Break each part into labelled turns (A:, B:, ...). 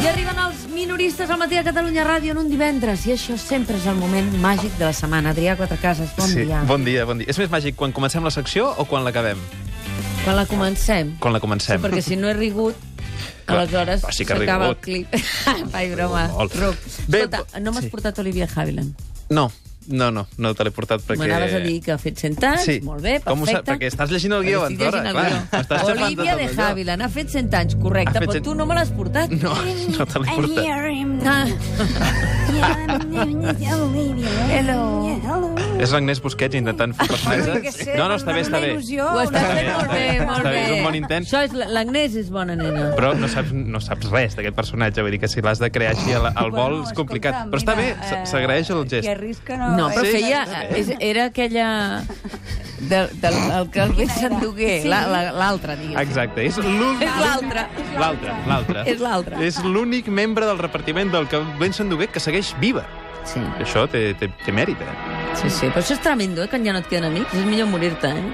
A: I arriben els minoristes al matí a Catalunya Ràdio en un divendres, i això sempre és el moment màgic de la setmana. Adrià Quatrecases, bon
B: sí.
A: dia.
B: Bon dia, bon dia. És més màgic quan comencem la secció o quan l'acabem?
A: Quan la comencem?
B: Quan la comencem.
A: Perquè si no he rigut,
B: Clar,
A: aleshores
B: però sí que he
A: s'acaba el
B: rigut.
A: clip. Ai, broma.
B: Molt.
A: Ruc.
B: Bé,
A: Escolta,
B: bo-
A: no m'has
B: sí.
A: portat Olivia Havilland.
B: No, no, no, no te l'he portat perquè...
A: M'anaves a dir que ha fet 100 anys,
B: Sí.
A: molt bé, perfecte.
B: Com ho saps? Perquè estàs llegint el guió,
A: Perquè estic
B: Andorra,
A: llegint el guió.
B: clar. M'estàs xafant
A: Olivia
B: tot
A: de
B: el guió.
A: Havilland ha fet 100 anys, correcte,
B: Ha fet
A: però
B: 100
A: tu no me l'has portat.
B: No, no te l'he
C: I'm
B: portat.
C: hearing
A: Ah,
C: Hello. Hello.
B: És l'Agnès Busquets intentant fer personatges. No, no, està bé, està bé.
C: Il·lusió,
A: Ho estàs fent
B: bé,
A: molt
B: està
A: bé,
B: bé,
A: molt
B: està
A: bé.
B: bé, és un bon intent.
A: Això és... la- L'Agnès és bona nena.
B: Però no saps, no saps res d'aquest personatge. Vull dir que si l'has de crear així al, al vol és complicat. Però està bé, s- s'agraeix
A: eh,
B: el
C: Qui
B: gest.
C: arrisca no...
A: No, però
B: Sí,
A: feia... eh,
B: està
A: És, era aquella... De, del, el que el ve s'endugué, la- la- l'altra, digues.
B: Exacte, és l'únic...
A: És l'altra.
B: L'altre, l'altre.
A: És l'altre.
B: És l'únic membre del repartiment del que Vincent Duguet que segueix viva.
A: Sí,
B: Això té, té, té mèrit, eh?
A: sí, sí. Però això és tremendo, eh, quan ja no et queden amics. És millor morir-te, eh?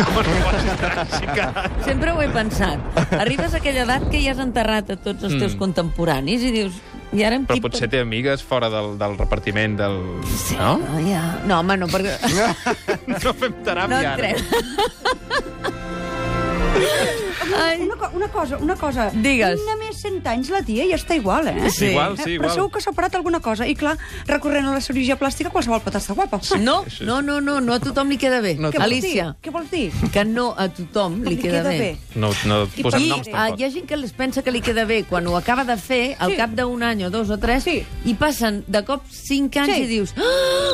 B: Home, no pots tràgica.
A: Sempre ho he pensat. Arribes a aquella edat que ja has enterrat a tots els teus contemporanis i dius... I ara amb
B: Mm. Però
A: qui
B: potser té amigues fora del, del repartiment del...
A: Sí, no?
B: No?
A: ja. no, home, no, perquè...
B: No fem
A: No
B: teràpia ara.
A: entrem. Ai,
C: Una, co- una cosa, una cosa.
A: Digues.
C: Una més 100 anys la tia i està igual, eh?
A: Sí.
B: Igual,
C: Eh,
B: sí,
C: Però segur
B: igual.
C: que s'ha operat alguna cosa. I clar, recorrent a la cirurgia plàstica, qualsevol pot estar guapa.
A: no, no, no, no, no a tothom li queda bé.
B: No a
A: No,
B: tothom.
A: Alicia,
C: Què vols dir?
A: que no a tothom li, queda, bé.
B: No, no
C: I
B: posem
A: I
B: noms,
A: ah,
B: tampoc.
A: hi ha gent que les pensa que li queda bé quan ho acaba de fer, al
C: Sí.
A: cap d'un any o dos o tres,
C: Sí.
A: i passen de cop cinc anys
C: Sí.
A: i dius... "Ah!"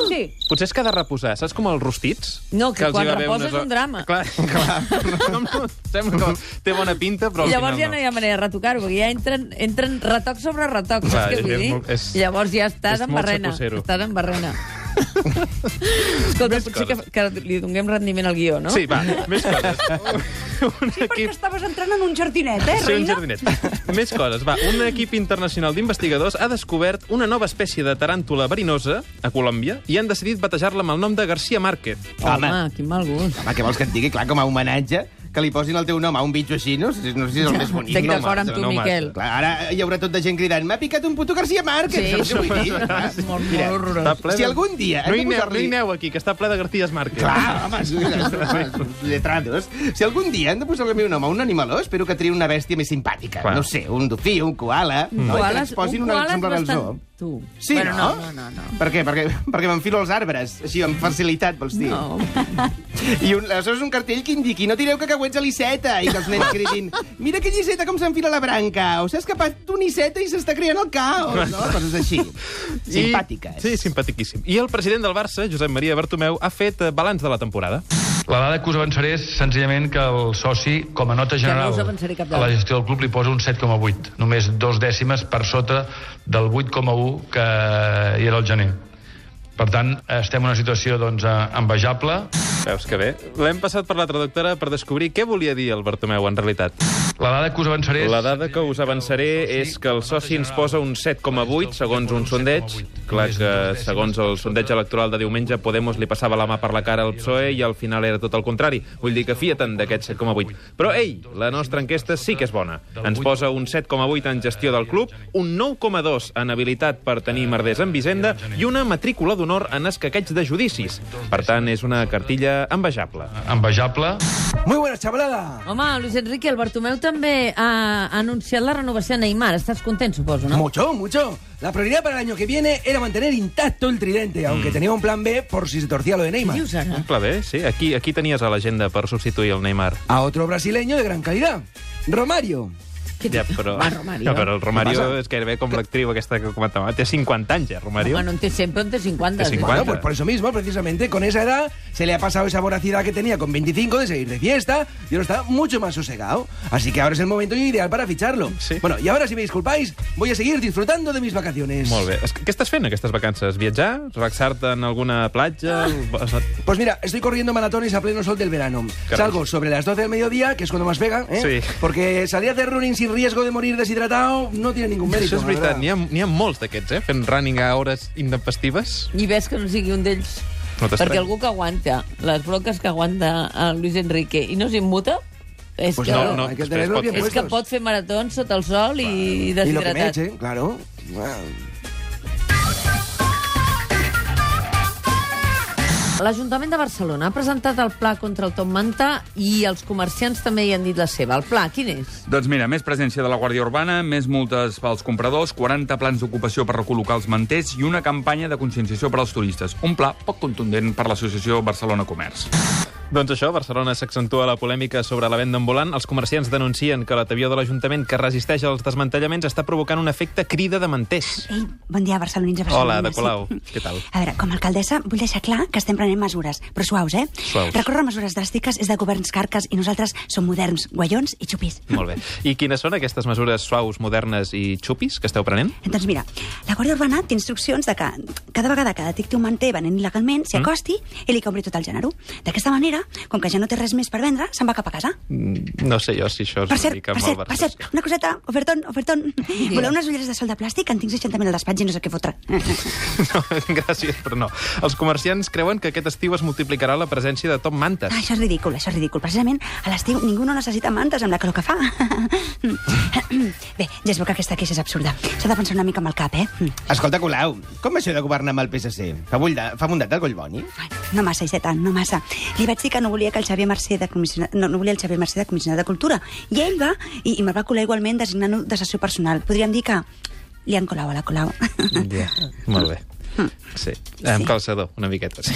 C: Sí.
B: Potser és que ha de reposar, saps com els rostits?
A: No, que
B: els hi
A: quan
B: va haver
A: reposa
B: unes
A: és un drama.
B: Clar, clar. No, no, sembla que té bona pinta,
A: I
B: però al
A: llavors ja
B: final
A: no hi ha manera de retocar-ho, perquè ja entren, entren retoc sobre retoc,
B: Clar,
A: saps què
B: és-
A: vull
B: és
A: dir?
B: molt- és-
A: llavors ja estàs
B: és
A: en
B: molt
A: barrena.
B: xapussero.
A: Estàs en barrena. Escolta,
B: Més
A: potser que,
B: coses.
A: que li donem rendiment al guió, no?
B: Sí, va, més coses. Un
C: Sí, perquè estaves entrant en un jardinet, eh,
B: Sí, un
C: reina?
B: jardinet. Més coses, va. Un equip internacional d'investigadors ha descobert una nova espècie de taràntula verinosa a Colòmbia i han decidit batejar-la amb el nom de García Márquez.
A: Home,
D: Home.
A: quin mal gust.
D: Home, què vols que et digui? Clar, com a homenatge, que li posin el teu nom a un bitxo així, no? sé- No sé si és el més bonic.
A: Estic
D: no,
A: d'acord amb
D: home.
A: tu,
B: no, home,
A: Miquel.
D: Clar, ara hi haurà tot de gent cridant m'ha picat un puto García Márquez,
A: Sí,
D: saps què vull dir?
B: Ah,
D: Clar,
A: És molt,
D: mira,
A: molt horrorós.
B: Està
D: Si algun dia hem
B: No
D: de
B: hi, aneu, no
D: posar-li-
B: hi aneu aquí, que està ple de Garcías Márquez.
D: Clar, home, sí, els lletrados. Si algun dia han de posar el meu nom a un animaló, espero que triï una bèstia més simpàtica.
B: Clar.
D: No sé, un dofí, un koala... Mm. No? I que
A: Koalas-
D: ens posin
A: un
D: una
A: koala és
D: exemplar al
A: bastant-
D: zoo.
A: Tu.
D: Sí,
A: bueno,
D: no?
A: No, no, no. no.
D: Per què? Perquè, perquè m'enfilo als arbres, així, amb facilitat, vols dir?
A: No.
D: I un, aleshores un cartell que indiqui no tireu cacauets a l'Iceta i que els nens cridin mira aquella Iceta com s'enfila la branca o s'ha escapat una Iceta i s'està creant el caos, no? Coses així. Simpàtiques.
B: I, sí, simpatiquíssim. I el president del Barça, Josep Maria Bartomeu, ha fet eh, balanç de la temporada.
E: La dada que us avançaré és senzillament que el soci, com a nota
A: no
E: general
A: us avançaré cap
E: a
A: dada.
E: la gestió del club, li posa un 7,8, només dos dècimes per sota del 8,1 que hi era el gener. Per tant, estem en una situació doncs, eh, envejable.
B: Veus que bé? L'hem passat per la traductora per descobrir què volia dir el Bartomeu en realitat.
E: La dada que us avançaré és...
B: La dada que us avançaré és que el soci ens posa un 7,8 segons un sondeig. Clar que segons el sondeig electoral de diumenge Podemos li passava la mà per la cara al PSOE E i al final era tot el contrari. Vull dir que fia-te'n d'aquest 7,8. Però ei, la nostra enquesta sí que és bona. Ens posa un 7,8 en gestió del club, un 9,2 en habilitat per tenir merders en Vicenda i una matrícula d'honor en escaqueig de judicis. Per tant, és una cartilla envejable.
E: Envejable.
F: Muy buenas, chavalada.
A: Home, Luis Enrique, el Bartomeu també ha anunciat la renovació a Neymar. Estàs content, suposo, no?
F: Mucho, mucho. La prioridad para el año que viene era mantener intacto el tridente, aunque
B: Mm.
F: tenía un plan B por si se torcía lo de Neymar.
A: Dius ah, ara?
B: Clar, bé, sí. Aquí, aquí tenies a l'agenda per substituir el Neymar.
F: A otro brasileño de gran calidad, Romario.
A: Què
B: Ja,
A: dius?
B: però,
A: Va, Romario.
B: ja, però el
F: Què
B: Romario
F: passa?
B: és gairebé com l'actriu aquesta que comentàvem. Té 50 anys, eh, Romario?
A: Home, no en té 100, però en té 50.
B: Té 50.
F: Bueno, pues por eso mismo, precisamente, con esa edad se le ha pasado esa voracidad que tenía con 25 de seguir de fiesta y ahora está mucho más sosegado. Así que ahora es el momento ideal para ficharlo.
B: Sí.
F: Bueno, y ahora, si me disculpáis, voy a seguir disfrutando de mis vacaciones.
B: Molt bé. Es- Què estàs fent aquestes vacances? Viatjar? Relaxar-te en alguna
A: Ah.
B: platja?
F: Pues mira, estoy corriendo maratones a pleno sol del verano.
B: Caray.
F: Salgo sobre las 12 del mediodía, que es cuando más pega, ¿eh?
B: Sí.
F: Porque salir a hacer running sin riesgo de morir deshidratado no tiene ningún mérito.
B: Això és
F: la
B: veritat.
F: verdad.
B: N'hi ha, n'hi ha molts d'aquests, eh? Fent running a hores intempestives.
A: I ves que no sigui un d'ells.
B: No t'estranyis.
A: Perquè algú que aguanta, les broques que aguanta el Luis Enrique, i no s'immuta, Es
F: Pues
A: que-
F: no, no,
B: no,
F: hay que
B: després
F: tenerlos
B: pot-
F: bien
A: És
F: puestos.
A: que pot fer maratons sota el sol i
F: Y lo que me
D: eh?
A: deshidratat.
F: echen, claro. Wow.
A: L'Ajuntament de Barcelona ha presentat el pla contra el Top Manta i els comerciants també hi han dit la seva. El pla, quin és?
G: Doncs mira, més presència de la Guàrdia Urbana, més multes pels compradors, 40 plans d'ocupació per recol·locar els manters i una campanya de conscienciació per als turistes. Un pla poc contundent per l'Associació Barcelona Comerç.
B: Doncs això, a Barcelona s'accentua la polèmica sobre la venda ambulant. Els comerciants denuncien que l'atavió de l'Ajuntament que resisteix als desmantellaments està provocant un efecte crida de manters.
H: Ei, bon dia, barcelonins i
B: Hola,
H: barcelonines.
B: de Colau.
H: Sí.
B: Què tal?
H: A veure, com a alcaldessa, vull deixar clar que estem prenent mesures, però suaus, eh?
B: Suaus.
H: Recórrer a mesures dràstiques és de governs carques i nosaltres som moderns, guaions i xupis.
B: Molt bé. I quines són aquestes mesures suaus, modernes i xupis que esteu prenent?
H: Doncs mira, la Guàrdia Urbana té instruccions de que cada vegada que detecti un manter venent il·legalment, s'hi
B: Mm.
H: acosti i li compri tot el gènere. D'aquesta manera, com que ja no té res més per vendre, se'n va cap a casa.
B: Mm, No sé jo si això és
H: Per
B: una
H: cert,
B: mica
H: per
B: malversació.
H: cert, per cert, una coseta, ofertón, ofertón. Voleu unes ulleres de sol de plàstic? En tinc 60.000 al despatx i no sé què fotre.
B: No, gràcies, però no. Els comerciants creuen que aquest estiu es multiplicarà la presència de top mantes.
H: Ah, això és ridícul, això és ridícul. Precisament a l'estiu ningú no necessita mantes amb la calor que fa. Bé, ja es veu que aquesta queixa és absurda. S'ha de pensar una mica amb el cap, eh?
D: Escolta, Colau, com va això de governar amb el PSC? Fa, bullda, fa mundat el Collboni?
H: Ai, No massa, Iceta, no massa. Li vaig dir que no volia que el Xavier Mercè de comissionat... No, no volia el Xavier Mercè de comissionat de Cultura. I ell va, i, i me'l va colar igualment designant-ho de sessió personal. Podríem dir que li han colau a la colau.
B: Ja, molt bé. Sí, amb calçador, una miqueta. Sí.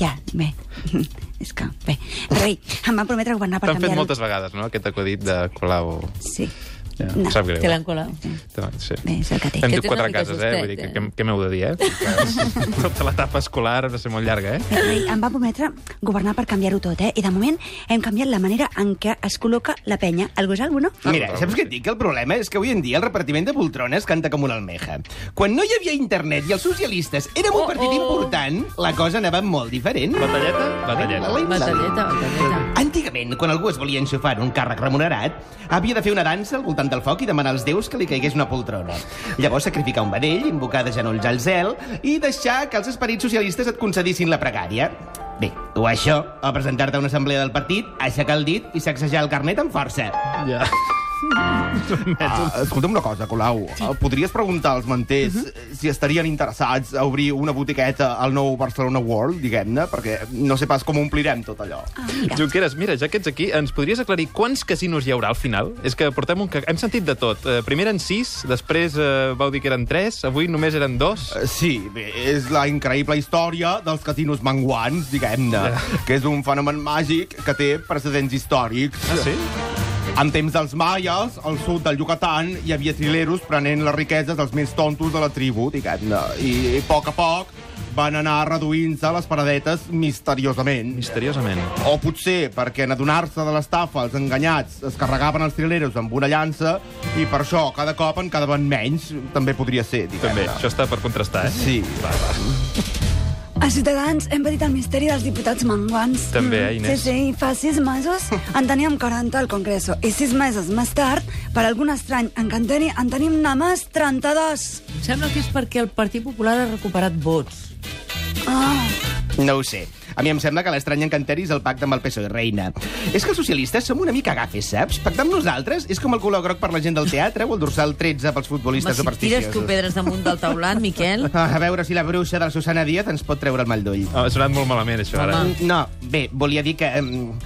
H: ja, bé. És que, bé. Però ei, em van prometre governar per
B: T'han fet
H: canviar...
B: moltes vegades, no?, aquest acudit de Colau.
H: Sí.
B: Ja, em
H: No.
B: Sap greu.
A: Te l'han colat.
B: Te- Sí.
H: Bé, és el que té.
B: Hem
A: Aquest
B: dit
A: és una
B: quatre
A: mica
B: cases, eh?
A: justet,
B: Vull dir, que,
A: eh?
B: que, que m'heu de dir, eh? Perquè Tota l'etapa escolar va ser molt llarga, eh?
H: Però, ei, em va prometre governar per canviar-ho tot, eh? I de moment hem canviat la manera en què es col·loca la penya. El gos albo, no?
D: Mira, saps què et dic? El problema és que avui en dia el repartiment de poltrones canta com una almeja. Quan no hi havia internet i els socialistes érem un partit important, la cosa anava molt diferent.
B: Batalleta?
D: La-
B: Batalleta.
D: la-
A: Batalleta, batalleta.
D: Antigament, quan algú es volia enxufar en un càrrec remunerat, havia de fer una dansa al voltant del foc i demanar als déus que li caigués una poltrona. Llavors sacrificar un vedell, invocar de genolls al cel i deixar que els esperits socialistes et concedissin la pregària. Bé, o això, o presentar-te a una assemblea del partit, aixecar el dit i sacsejar el carnet amb força.
B: Ja.
I: Ah, escolta'm una cosa, Colau. Ah, Podries preguntar als manters
D: Mhm.
I: si estarien interessats a obrir una botiqueta al nou Barcelona World, diguem-ne, perquè no sé pas com omplirem tot allò.
B: Junqueras, mira, ja que ets aquí, ens podries aclarir quants casinos hi haurà al final? És que portem un... ca- Hem sentit de tot. Eh, primer eren sis, després eh, vau dir que eren tres, avui només eren dos.
I: Eh, Sí, bé, és la increïble història dels casinos manguants, diguem-ne, que és un fenomen màgic que té precedents històrics.
B: Ah, sí?
I: En temps dels maies, al sud del Yucatán, hi havia trileros prenent les riqueses dels més tontos de la tribu, diguem-ne. I a poc a poc van anar reduint-se les paradetes misteriosament.
B: Misteriosament.
I: O potser perquè en adonar-se de l'estafa els enganyats es carregaven els trileros amb una llança i per això cada cop en quedaven menys, també podria ser,
B: També,
I: diguem-ne.
B: això està per contrastar, eh?
I: Sí.
H: A Ciutadans hem patit el misteri dels diputats manguants. Mm.
B: També, eh, Inés?
H: Sí, sí, fa sis mesos en teníem 40 al Congreso. I sis mesos més tard, per algun estrany encanteri, en tenim només 32.
A: Em Sembla que és perquè el Partit Popular ha recuperat vots.
D: No ho sé. A mi em sembla que l'estrany encanteri és el pacte amb el PSOE, reina. És que els socialistes som una mica agafes, saps? Pactar amb nosaltres és com el color groc per la gent del teatre o el dorsal 13 pels
A: Home,
D: futbolistes
A: si tires tu
D: supersticiosos.
A: pedres damunt del taulat, Miquel...
D: Ah, A veure si la bruixa de la Susana Díaz ens pot treure el mal d'ull.
B: Ah, Ha sonat molt malament, això, ara.
D: Mm, No, bé, volia dir que... Um...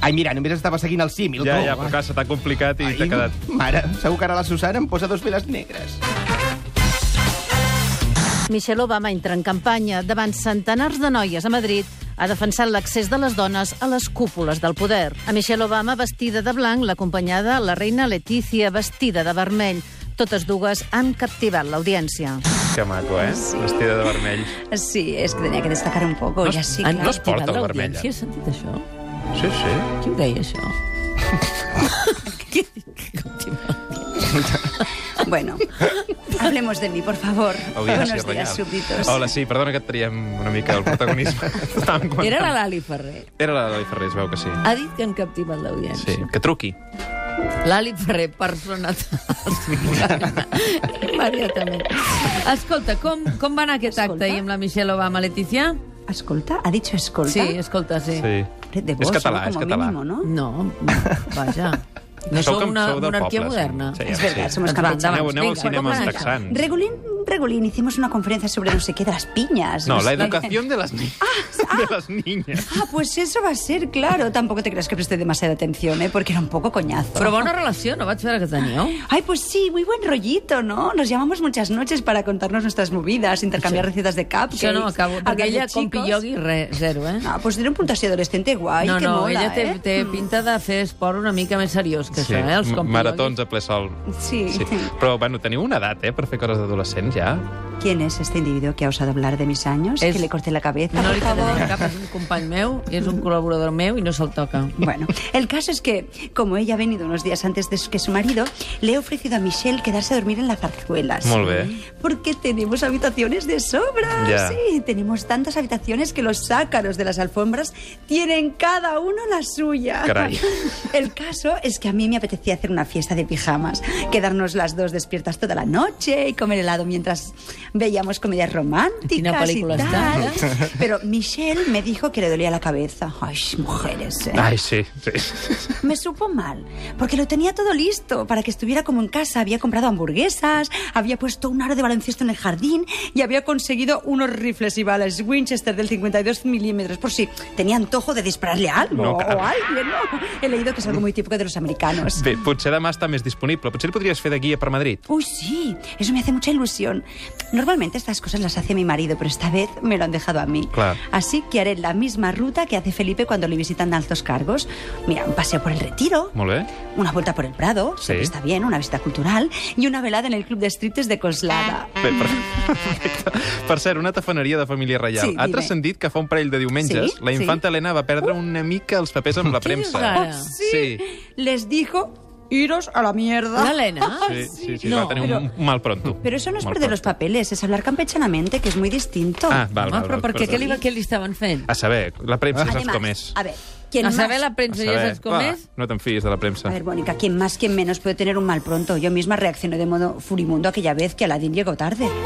D: Ai, mira, només estava seguint el símil.
B: Ja,
D: tu.
B: ja, però clar, se t'ha complicat i
D: Ai,
B: t'ha quedat...
D: Mare, segur que ara la Susana em posa dos veles negres.
J: Michelle Obama entra en campanya davant centenars de noies a Madrid ha defensat l'accés de les dones a les cúpules del poder. A Michelle Obama, vestida de blanc, l'acompanyada la reina Letícia, vestida de vermell. Totes dues han captivat l'audiència.
B: Que maco, eh? Vestida de vermell.
H: Sí, és que tenia que destacar un poco, ja sí,
A: Han
H: clar.
B: es porta
A: captivat
B: el
A: l'audiència,
B: vermell, eh?
A: Has sentit això?
B: Sí, sí.
A: Qui ho deia, això? Qui- qui captiva?
H: Bueno, hablemos de mí, por favor.
B: Audiència
H: Buenos días,
B: reial.
H: súbditos.
B: Hola, sí, perdona que et traiem una mica el protagonisme. Estàvem comentant-
A: Era la Lali Ferrer.
B: Era la Lali Ferrer, es veu que sí.
A: Ha dit que han captivat l'audiència.
B: Sí, que truqui.
A: L'Ali Ferrer, persona Immediatament. Escolta, com, com va anar aquest acte
H: Escolta.
A: ahir amb la Michelle Obama, Letícia?
H: Escolta, ha dicho escolta?
A: Sí, escolta, sí.
B: Sí.
H: Alfred de
B: És
H: Bosch,
B: català,
H: no?
B: és
H: com a
B: català.
H: mínim, no?
A: No, vaja. No sou
B: com-
A: una
B: sou del
A: monarquia
B: poble,
A: moderna.
B: Sí,
H: Es
B: sí,
H: verdad,
B: sí.
H: somos
A: Doncs va,
H: campechanos.
A: endavant.
B: Aneu, aneu al
A: Vinga,
B: cinema als
A: com anar?
B: texans.
H: Regulín, Regulín, hicimos una conferencia sobre no sé qué de las piñas.
B: No,
H: sé.
B: la educación de las niñas. De las niñas.
H: Ah, pues eso va a ser, claro. Tampoco te creas que presté demasiada atención, ¿eh? Porque era un poco coñazo.
A: Però bona relació, no vaig veure que teníeu.
H: Ay, pues sí, muy buen rollito, ¿no? Nos llamamos muchas noches para contarnos nuestras movidas, intercambiar recetas de cupcakes.
A: Això no acabo,
H: hablar
A: perquè
H: de
A: ella, com
H: chicos.
A: pilloqui, re, zero, eh?
H: Ah, pues tiene un puntació adolescente guay,
A: no,
H: que
A: no,
H: mola,
A: ella té,
H: ¿eh?
A: té pinta de fer esport una mica més seriós que això, eh? Els
B: m-
A: com
B: maratons a ple sol.
H: Sí.
B: Però, bueno, teniu una edat, eh, per fer coses d'adolescents, ja.
H: ¿Quién es este individuo que ha osado hablar de mis años?
A: Es-
H: Que le corté la cabeza,
A: No
H: por
A: li
H: favor.
A: quedarà cap, és un company meu, i és un col·laborador meu i no se'l toca.
H: Bueno, el caso es que, como ella ha venido unos días antes de su- que su marido, le he ofrecido a Michelle quedarse a dormir en las zarzuelas.
B: Molt bé.
H: Porque tenemos habitaciones de sobra.
B: Ya.
H: Sí, tenemos tantas habitaciones que los sácaros de las alfombras tienen cada uno la suya.
B: Caray.
H: El caso es que a mí me apetecía hacer una fiesta de pijamas, quedarnos las dos despiertas toda la noche y comer helado mientras veíamos comedias románticas
A: Quina película
H: y tal. Pero Michelle me dijo que le dolía la cabeza. Ay, mujeres, ¿eh?
B: Ai, sí, sí.
H: Me supo mal, porque lo tenía todo listo para que estuviera como en casa. Había comprado hamburguesas, había puesto un aro de baloncesto en el jardín y había conseguido unos rifles y balas Winchester del 52 milímetros. Por si tenía antojo de dispararle a algo
B: No,
H: o
B: claro.
H: a alguien, ¿no? He leído que es algo muy típico de los americanos.
B: Bé, potser demà està més disponible. Potser el podries fer de guia per Madrid.
H: Uy, sí, eso me hace mucha ilusión. Normalmente estas cosas las hace mi marido, pero esta vez me lo han dejado a mí.
B: Claro.
H: Así que haré la misma ruta que hace Felipe cuando le visitan altos cargos. Mira, un paseo por el retiro,
B: Molt bé.
H: una vuelta por el Prado,
B: Sí.
H: siempre está bien, una visita cultural, y una velada en el club de striptease de Coslada.
B: Bé, perfecte. Per cert, una tafaneria de família reial.
H: Sí,
B: ha
H: dime.
B: transcendit que fa un parell de diumenges
H: Sí, Uh.
B: la infanta
H: sí.
B: Helena va perdre una mica els papers amb la
A: Què dius
B: premsa.
A: ara?
B: Sí.
H: Les dijo, iros a la mierda.
A: Ah, L'Helena?
B: Sí, sí, sí,
A: No,
B: va tenir un un mal pronto.
H: Pero eso no es
B: Mal
H: perder los
B: pronto.
H: papeles, es hablar campechanamente, que es muy distinto.
B: Ah, val,
A: Home,
B: val,
A: però
B: val,
A: per què?
B: perdó.
A: Què li, va- què li estaven fent?
B: A saber, la premsa saps
H: Además,
B: com és.
H: a ver, ¿quién
A: A
H: más?
A: saber la premsa ja
B: saber.
A: saps com
B: Va,
A: és?
B: No te'n fies de la
H: A
B: premsa.
H: ver, Mónica, ¿quién más, quién menos puede tener un mal pronto? Yo misma reaccioné de modo furibundo aquella vez que Aladín llegó tarde.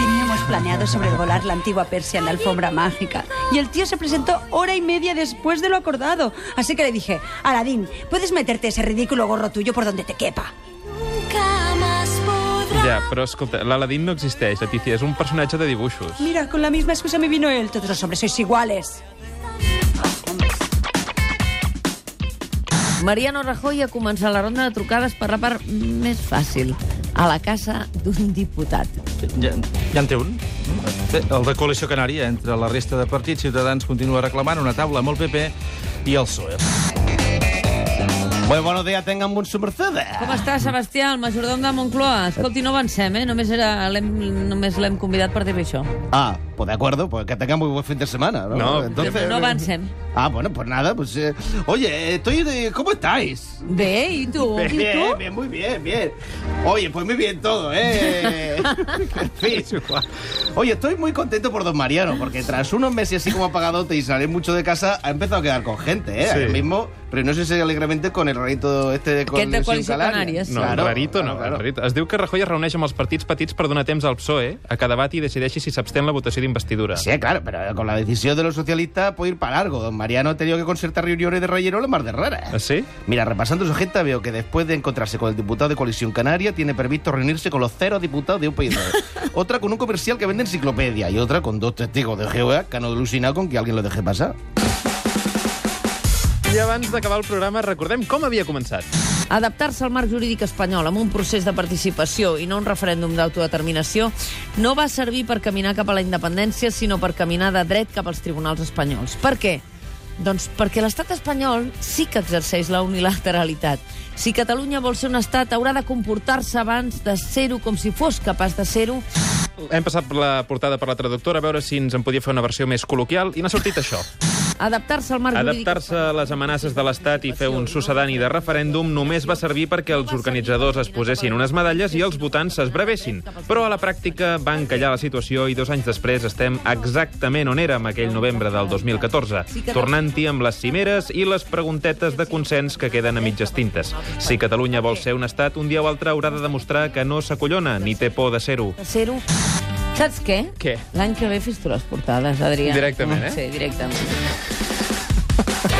H: Teníamos planeado sobrevolar la antigua Persia en la alfombra mágica. Y el tío se presentó hora y media después de lo acordado. Así que le dije, Aladín, ¿puedes meterte ese ridículo gorro tuyo por donde te quepa?
B: Ja, però escolta, l'Aladín no existeix, Letícia, és un personatge de dibuixos.
H: Mira, con la misma excusa me vino él. Todos los hombres sois iguales.
A: Mariano Rajoy ha començat la ronda de trucades per la part més fàcil, a la casa d'un diputat.
K: Ja, ja en té un. Bé, El de Coalició Canària, entre la resta de partits, Ciutadans continua reclamant una taula amb el PP i el PSOE.
D: Muy buenos días, tengan buen su merced.
A: Com està, Sebastià, el majordom de Moncloa? Escolti, no avancem, eh? Només era- l'hem- només l'hem convidat per dir això.
D: Ah, pues de acuerdo, pues que tengan muy buen fin de semana. No,
B: No,
D: Entonces,
A: No avancem.
D: Ah, bueno, pues nada, pues... eh, oye, estoy de... ¿Cómo estáis?
A: Bé, i tu?
D: Bien,
A: I
D: bien,
A: tu?
D: bien, muy bien, bien. Oye, pues muy bien todo, ¿eh? En fin. Oye, estoy muy contento por Don Mariano, porque tras unos meses así como apagadote y salir mucho de casa, ha empezado a quedar con gente, ¿eh?
B: Sí.
D: Ahora mismo reunióse alegremente con el rarito este de
A: Aquest de Coalició Canària, sí.
B: No, claro, rarito no. Claro. Rarito. Es diu que Rajoy es reuneix amb els partits petits per donar temps al PSOE a que debati i decideixi si s'abstén la votació d'investidura.
D: Sí, claro, pero con la decisión de los socialistas puede ir para largo. Don Mariano ha tenido que concertar reuniones de rellenos más de raras.
B: Ah, sí?
D: Mira, repasando su agenda veo que después de encontrarse con el diputado de Coalición Canaria tiene previsto reunirse con los cero diputados de UPyD. otra con un comercial que vende enciclopedia y otra con dos testigos de Jehová que han alucinado con que alguien lo deje pasar.
B: I abans d'acabar el programa, recordem com havia començat.
A: Adaptar-se al marc jurídic espanyol amb un procés de participació i no un referèndum d'autodeterminació no va servir per caminar cap a la independència, sinó per caminar de dret cap als tribunals espanyols. Per què? Doncs perquè l'estat espanyol sí que exerceix la unilateralitat. Si Catalunya vol ser un estat, haurà de comportar-se abans de ser-ho com si fos capaç de ser-ho.
B: Hem passat la portada per la traductora a veure si ens en podia fer una versió més col·loquial i n'ha sortit això.
A: Adaptar-se al marc jurídic
B: Adaptar-se a les amenaces de l'Estat i fer un sucedani de referèndum només va servir perquè els organitzadors es posessin unes medalles i els votants s'esbrevessin. Però a la pràctica van callar la situació i dos anys després estem exactament on érem aquell novembre del 2014, tornant-hi amb les cimeres i les preguntetes de consens que queden a mitges tintes. Si Catalunya vol ser un estat, un dia o altre haurà de demostrar que no s'acollona ni té por de ser-ho.
A: de ser-ho. Saps què?
B: Què?
A: L'any que ve fes tu les portades, Adrià.
B: Directament, eh?
A: Sí, directament.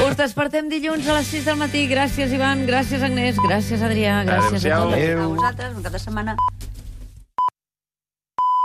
A: Us despertem dilluns a les 6 del matí. Gràcies, Ivan. Gràcies, Agnès. Gràcies, Adrià. Gràcies a
H: Adéu.
A: totes.
H: A vosaltres, una cada setmana.